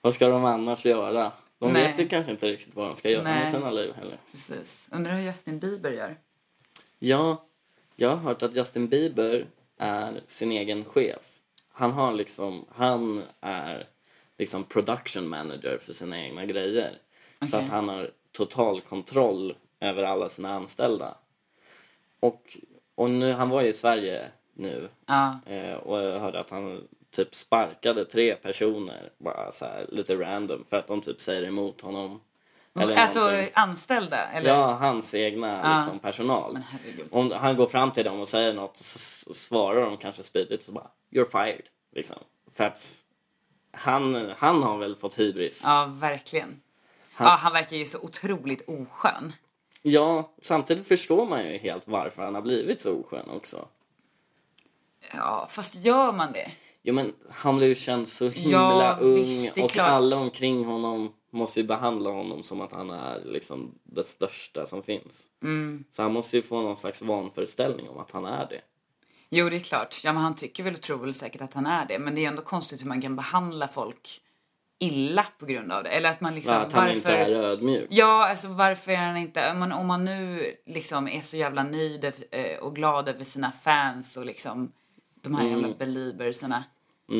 Speaker 1: Vad ska de annars göra? De
Speaker 2: Nej.
Speaker 1: vet ju kanske inte riktigt vad de ska göra med
Speaker 2: Nej.
Speaker 1: sina liv heller.
Speaker 2: Precis. Undrar hur Justin Bieber gör.
Speaker 1: Ja, jag har hört att Justin Bieber är sin egen chef. Han har liksom, han är liksom production manager för sina egna grejer. Så
Speaker 2: Okej.
Speaker 1: att han har total kontroll över alla sina anställda. Och, och nu, han var ju i Sverige nu
Speaker 2: Ja,
Speaker 1: Eh, och jag hörde att han typ sparkade tre personer bara så här, lite random för att de typ säger emot honom. Eller
Speaker 2: alltså
Speaker 1: någonting.
Speaker 2: anställda? Eller?
Speaker 1: Ja, hans egna liksom, personal.
Speaker 2: Men herregud.
Speaker 1: Om han går fram till dem och säger något så så svarar de kanske spydigt så bara “You're fired”. Liksom. För att han, han har väl fått hybris.
Speaker 2: Ja, verkligen. Han... Ja, han verkar ju så otroligt oskön.
Speaker 1: Ja, samtidigt förstår man ju helt varför han har blivit så oskön också.
Speaker 2: Ja, fast gör man det?
Speaker 1: Jo men han blev ju känd så himla
Speaker 2: Ja,
Speaker 1: ung
Speaker 2: visst, det är
Speaker 1: och
Speaker 2: klart.
Speaker 1: alla omkring honom måste ju behandla honom som att han är liksom det största som finns.
Speaker 2: Mm.
Speaker 1: Så han måste ju få någon slags vanföreställning om att han är det.
Speaker 2: Jo, det är klart. Ja, men han tycker väl och tror väl säkert att han är det. Men det är ändå konstigt hur man kan behandla folk illa på grund av det. Eller att man liksom...
Speaker 1: att han inte är ödmjuk.
Speaker 2: Ja, alltså varför är han inte... Men om man nu liksom är så jävla nöjd över- eh, och glad över sina fans och liksom de här jävla beliebersarna.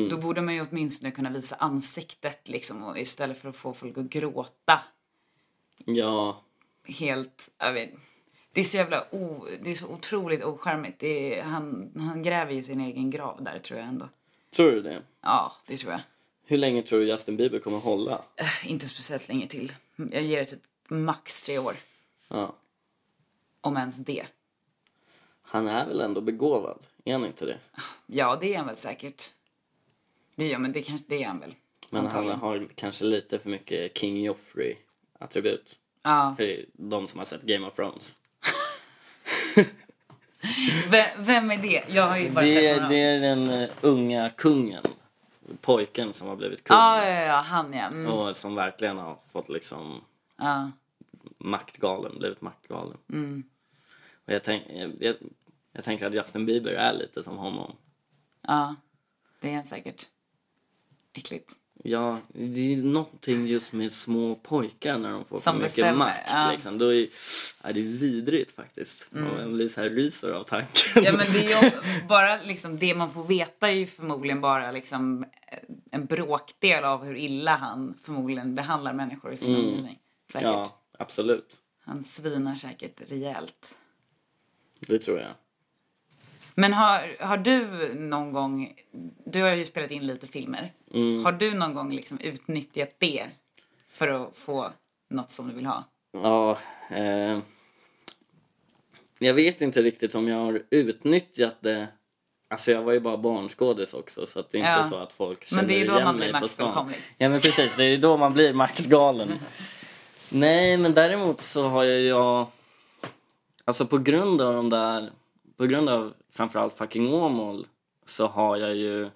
Speaker 2: Då borde man ju åtminstone kunna visa ansiktet liksom och istället för att få folk att gråta
Speaker 1: Ja,
Speaker 2: helt... Jag vet, det är så jävla o, Det är så otroligt ocharmigt. Det är, han, han gräver ju sin egen grav där tror jag ändå.
Speaker 1: tror du det?
Speaker 2: Ja, det tror jag.
Speaker 1: Hur länge tror du Justin Bieber kommer hålla?
Speaker 2: Eh, Inte speciellt länge till. Jag ger det typ max tre år.
Speaker 1: Ja.
Speaker 2: Om ens det.
Speaker 1: Han är väl ändå begåvad? Är han inte det?
Speaker 2: Ja, det är han väl säkert. Det, ja, men det kanske det är han väl.
Speaker 1: Men han
Speaker 2: Antagligen.
Speaker 1: har kanske lite för mycket King Joffrey-attribut.
Speaker 2: Ja.
Speaker 1: För de som har sett Game of Thrones.
Speaker 2: Ve- vem är det? Jag har ju bara
Speaker 1: Det
Speaker 2: sett
Speaker 1: är,
Speaker 2: några
Speaker 1: det
Speaker 2: avsnitt.
Speaker 1: är den eh, unga kungen. Pojken som har blivit kung.
Speaker 2: Ja, ja, ja, han ja. Mm.
Speaker 1: Och som verkligen har fått liksom
Speaker 2: ja.
Speaker 1: maktgalen, blivit maktgalen.
Speaker 2: Mm.
Speaker 1: Och jag, tänk, jag, jag, jag tänker att Justin Bieber är lite som honom.
Speaker 2: Ja, det är han säkert. Äckligt.
Speaker 1: Ja, det är ju någonting just med små pojkar när de får
Speaker 2: Som
Speaker 1: för mycket
Speaker 2: bestämmer,
Speaker 1: makt.
Speaker 2: ja. Mm.
Speaker 1: Liksom. Då är, ja, det är vidrigt faktiskt. Och jag blir så här ryser av tanken.
Speaker 2: Ja, men det är ju bara liksom, det man får veta är ju förmodligen bara liksom eh, en bråkdel av hur illa han förmodligen behandlar människor i sin omgivning.
Speaker 1: <laughs>
Speaker 2: Säkert.
Speaker 1: ja, absolut.
Speaker 2: Han svinar säkert rejält.
Speaker 1: Det tror jag.
Speaker 2: Men har, har du någon gång, du har ju spelat in lite filmer.
Speaker 1: Mm.
Speaker 2: Har du någon gång liksom utnyttjat det för att få något som du vill ha?
Speaker 1: Ja, eh, jag vet inte riktigt om jag har utnyttjat det. Alltså jag var ju bara barnskådis också så att det är inte
Speaker 2: Ja.
Speaker 1: så att folk känner
Speaker 2: Men det är då
Speaker 1: igen
Speaker 2: man
Speaker 1: mig
Speaker 2: blir
Speaker 1: på stan.
Speaker 2: maktfullkomlig.
Speaker 1: Ja men precis, det är ju då man blir
Speaker 2: <laughs>
Speaker 1: maktgalen. Nej men däremot så har jag, jag alltså på grund av de där, på grund av framförallt fucking Åmål så har jag ju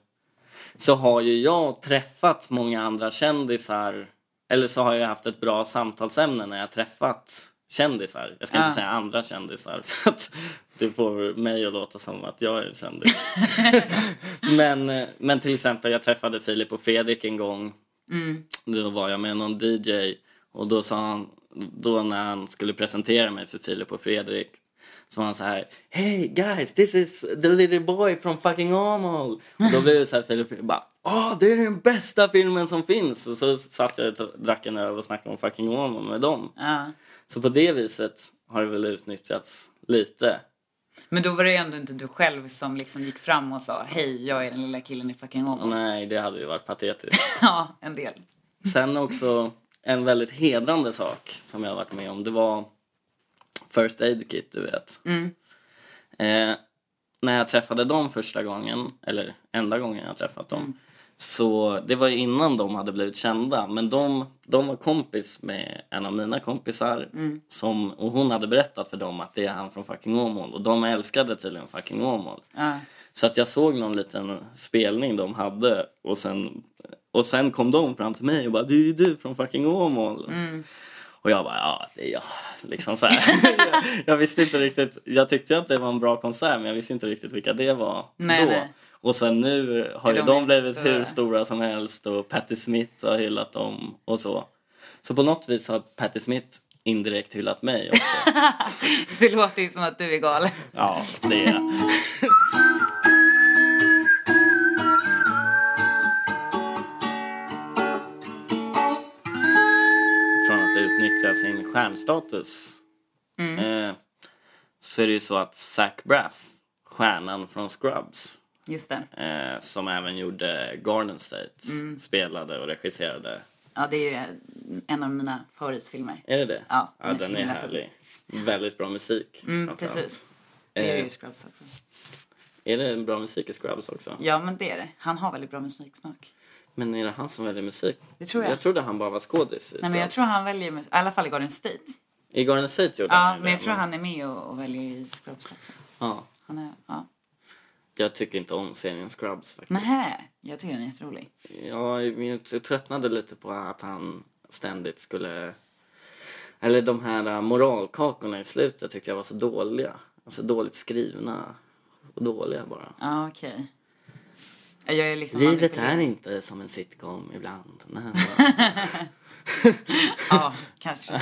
Speaker 1: så har ju jag träffat många andra kändisar. Eller så har jag haft ett bra samtalsämne när jag träffat kändisar. Jag ska
Speaker 2: Ja.
Speaker 1: inte säga andra kändisar <laughs> för att du får mig att låta som att jag är en kändis. men, eh, men till exempel jag träffade Filip och Fredrik en gång. Då var jag med någon DJ och då sa han, då när han skulle presentera mig för Filip och Fredrik så var han så här Hey guys, this is the little boy from fucking Åmål. Och då blev det så här Filip Fredrik bara Åh, det är den bästa filmen som finns! Och så satt jag och drack en öl och snackade om fucking Åmål med dem.
Speaker 2: Ja.
Speaker 1: Så på det viset har det väl utnyttjats lite.
Speaker 2: Men då var det ju ändå inte du själv som liksom gick fram och sa hej, jag är den lilla killen i fucking Åmål.
Speaker 1: Nej, det hade ju varit patetiskt.
Speaker 2: <laughs> Ja, en del.
Speaker 1: Sen också en väldigt hedrande sak som jag har varit med om. Det var First Aid Kit, du vet. Eh, när jag träffade dem första gången, eller enda gången jag träffat dem. Så det var ju innan de hade blivit kända. Men de, de var kompis med en av mina kompisar. Som, och hon hade berättat för dem att det är han från fucking Åmål. Och de älskade tydligen fucking Åmål.
Speaker 2: Ja.
Speaker 1: Så att jag såg någon liten spelning de hade och sen, och sen kom de fram till mig och bara det är ju du från fucking Åmål.
Speaker 2: Mm.
Speaker 1: Och jag bara ja det är jag. Liksom så
Speaker 2: <laughs>
Speaker 1: här. <laughs> jag visste inte riktigt, jag tyckte att det var en bra konsert men jag visste inte riktigt vilka det var
Speaker 2: Nej,
Speaker 1: då.
Speaker 2: nej.
Speaker 1: Och sen nu har
Speaker 2: Är
Speaker 1: ju
Speaker 2: de
Speaker 1: de, blivit
Speaker 2: jättestora?
Speaker 1: hur stora som helst och Patti Smith har hyllat dem och så. Så på något vis har Patti Smith indirekt hyllat mig också.
Speaker 2: Det låter ju som att du är galen.
Speaker 1: ja, det är jag. från att utnyttja sin stjärnstatus
Speaker 2: Mm.
Speaker 1: eh, så är det ju så att Zach Braff, stjärnan från Scrubs,
Speaker 2: Just det.
Speaker 1: eh, som även gjorde Garden State.
Speaker 2: Mm.
Speaker 1: Spelade och regisserade.
Speaker 2: Ja, det är ju en av mina favoritfilmer.
Speaker 1: Är det det?
Speaker 2: Ja, den
Speaker 1: den,
Speaker 2: är så
Speaker 1: är,
Speaker 2: himla fin.
Speaker 1: härlig. Väldigt bra musik.
Speaker 2: Mm,
Speaker 1: framförallt.
Speaker 2: precis. Det är
Speaker 1: Eh.
Speaker 2: ju Scrubs också.
Speaker 1: Är det bra musik i Scrubs också?
Speaker 2: Ja, men det är det. Han har väldigt bra musiksmak.
Speaker 1: Men är det han som väljer musik?
Speaker 2: Det tror jag.
Speaker 1: Jag trodde han bara var skådis i
Speaker 2: Nej, men jag
Speaker 1: Scrubs.
Speaker 2: tror han väljer, mus- i alla fall i Garden State.
Speaker 1: I Garden State gjorde
Speaker 2: Ja,
Speaker 1: han ju
Speaker 2: men jag
Speaker 1: det,
Speaker 2: tror han är med och, och väljer i Scrubs också.
Speaker 1: Ja,
Speaker 2: Han är, ja.
Speaker 1: jag tycker inte om serien Scrubs faktiskt.
Speaker 2: Nähä, jag tycker den är jätterolig.
Speaker 1: Ja, jag tröttnade lite på att han ständigt skulle... Eller de här äh, moralkakorna i slutet tyckte jag var så dåliga. Alltså dåligt skrivna. Och dåliga bara.
Speaker 2: Ja, okej. Ja, Jag är liksom
Speaker 1: Livet
Speaker 2: manipulerad.
Speaker 1: är inte som en sitcom ibland. Nej,
Speaker 2: Ja, kanske.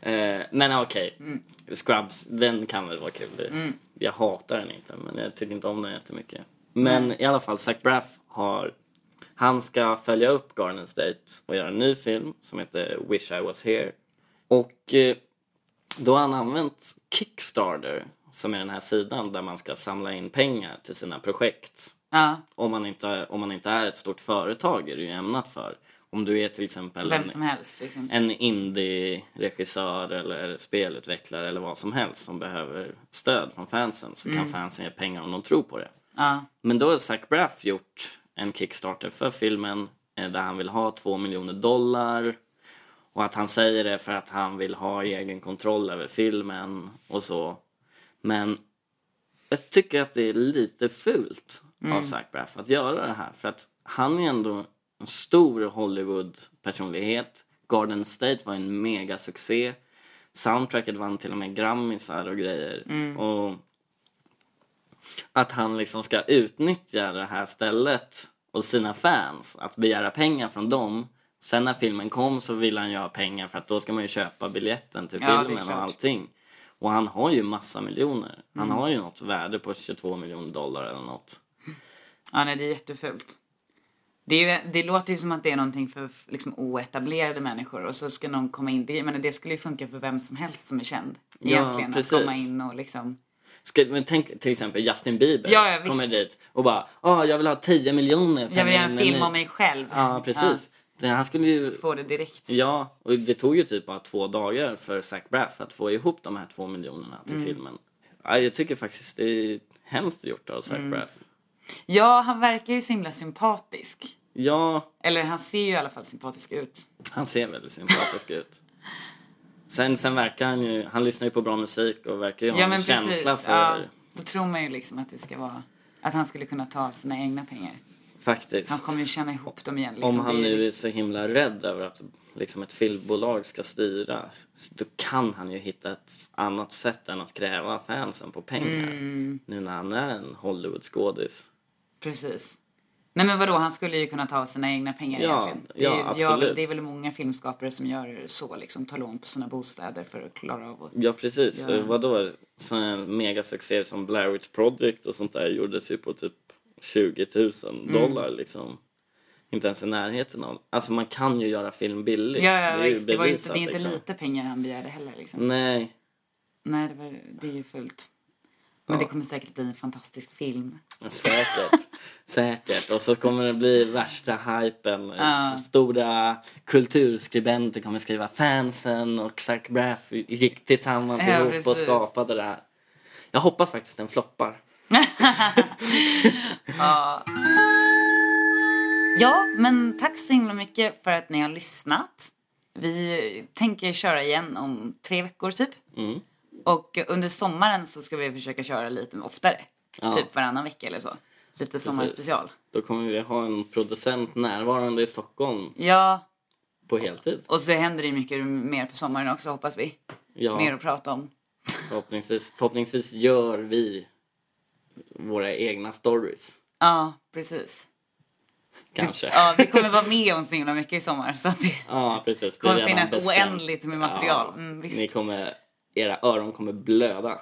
Speaker 1: eh, men okej.
Speaker 2: Mm.
Speaker 1: Scrubs, den kan väl vara kul. Jag hatar den inte, men jag tycker inte om den jättemycket. Men i alla fall, Zach Braff har... Han ska följa upp Garden State och göra en ny film som heter Wish I Was Here. Och eh, då har han använt Kickstarter, som är den här sidan där man ska samla in pengar till sina projekt.
Speaker 2: Ja,
Speaker 1: Om man inte, om man inte är ett stort företag är det ju ämnat för. Om du är till exempel
Speaker 2: vem
Speaker 1: en,
Speaker 2: som helst liksom.
Speaker 1: en indie-regissör eller spelutvecklare eller vad som helst som behöver stöd från fansen så kan fansen ge pengar om de tror på det.
Speaker 2: Ja,
Speaker 1: Men då har Zach Braff gjort en Kickstarter för filmen eh, där han vill ha 2 miljoner dollar. Och att han säger det för att han vill ha egen kontroll över filmen och så. Men jag tycker att det är lite fult av Zach Braff att göra det här. För att han är ändå en stor Hollywood-personlighet. Garden State var en mega succé. Soundtracket vann till och med Grammisar och grejer.
Speaker 2: Mm.
Speaker 1: Och att han liksom ska utnyttja det här stället och sina fans, att begära pengar från dem. Sen när filmen kom så ville han ju ha pengar för att då ska man ju köpa biljetten till
Speaker 2: Ja, det är
Speaker 1: filmen och
Speaker 2: klart. Mm.
Speaker 1: allting. Och han har ju massa miljoner. Han har ju något värde på 22 miljoner dollar eller något.
Speaker 2: ja nej, det är jättefult. Det, är ju, det låter ju som att det är någonting för liksom, oetablerade människor och så ska någon komma in. Det, men det skulle ju funka för vem som helst som är känd.
Speaker 1: Ja,
Speaker 2: Egentligen, att
Speaker 1: precis.
Speaker 2: komma in och liksom...
Speaker 1: Ska, men tänk till exempel Justin Bieber
Speaker 2: Ja, ja,
Speaker 1: kommer
Speaker 2: visst.
Speaker 1: dit och bara ah jag vill ha 10 miljoner för
Speaker 2: Jag vill göra
Speaker 1: min
Speaker 2: en
Speaker 1: meny."
Speaker 2: film om mig själv.
Speaker 1: Ja, precis. Det, han skulle ju
Speaker 2: Ja, Få det direkt.
Speaker 1: Ja, och det tog ju typ bara två dagar för Zach Braff att få ihop de här två miljonerna
Speaker 2: Mm.
Speaker 1: till filmen. Ja, jag tycker faktiskt det är hemskt gjort av Zach
Speaker 2: Mm.
Speaker 1: Braff.
Speaker 2: Ja, han verkar ju så himla sympatisk.
Speaker 1: Ja,
Speaker 2: Eller han ser ju i alla fall sympatisk ut.
Speaker 1: han ser väldigt sympatisk ut. Sen, sen verkar han ju, han lyssnar ju på bra musik och verkar ju ha
Speaker 2: Ja,
Speaker 1: en
Speaker 2: men precis.
Speaker 1: känsla för,
Speaker 2: Ja, då tror man ju liksom att det ska vara... Att han skulle kunna ta av sina egna pengar.
Speaker 1: faktiskt.
Speaker 2: Han kommer ju tjäna ihop dem igen. Liksom.
Speaker 1: Om han
Speaker 2: Det är ju-
Speaker 1: nu är så himla rädd över att liksom ett filmbolag ska styra så då kan han ju hitta ett annat sätt än att kräva fansen på pengar.
Speaker 2: Mm.
Speaker 1: Nu när han är en Hollywood-skådis.
Speaker 2: Precis. Nej men vadå, han skulle ju kunna ta av sina egna pengar
Speaker 1: Ja,
Speaker 2: egentligen. Det är,
Speaker 1: ja,
Speaker 2: ju- det gör väl-
Speaker 1: absolut.
Speaker 2: det är väl många filmskapare som gör så liksom, tar lån på sina bostäder för att klara av att...
Speaker 1: Ja precis, ja. vadå? Sådana megasuccéer som Blair Witch Project och sånt där gjordes ju på typ 20 000
Speaker 2: Mm.
Speaker 1: dollar liksom. Inte ens i närheten av. Alltså man kan ju göra film billigt.
Speaker 2: Ja, ja,
Speaker 1: det är ju
Speaker 2: visst. Det, var ju inte,
Speaker 1: bevisat,
Speaker 2: det är inte
Speaker 1: liksom. Mm.
Speaker 2: lite pengar han begärde heller liksom.
Speaker 1: Nej,
Speaker 2: Nej, det, var, det är ju fullt. Men det kommer säkert bli en fantastisk film. <laughs>
Speaker 1: säkert. säkert. Och så kommer det bli värsta hypen. Så stora kulturskribenter kommer skriva fansen och Zach Braff gick tillsammans
Speaker 2: Ja,
Speaker 1: ihop och
Speaker 2: precis.
Speaker 1: skapade det här. Jag hoppas faktiskt den floppar.
Speaker 2: Ja, men tack så himla mycket för att ni har lyssnat. Vi tänker köra igen om tre veckor typ.
Speaker 1: Mm.
Speaker 2: Och under sommaren så ska vi försöka köra lite oftare.
Speaker 1: Ja.
Speaker 2: Typ varannan vecka eller så. Lite sommarspecial.
Speaker 1: Då kommer vi ha en producent närvarande i Stockholm
Speaker 2: Ja,
Speaker 1: på heltid.
Speaker 2: och så händer det ju mycket mer på sommaren också hoppas vi. Mer
Speaker 1: Ja,
Speaker 2: att prata om.
Speaker 1: förhoppningsvis, förhoppningsvis gör vi våra egna stories.
Speaker 2: Ja, precis.
Speaker 1: Kanske.
Speaker 2: Ja, vi kommer vara med om så himla mycket i sommar så att det
Speaker 1: Ja, precis. Det
Speaker 2: kommer
Speaker 1: är redan
Speaker 2: finnas
Speaker 1: bestämt.
Speaker 2: oändligt med material. Mm,
Speaker 1: <laughs>
Speaker 2: visst. <laughs>
Speaker 1: Ni kommer, era öron kommer blöda.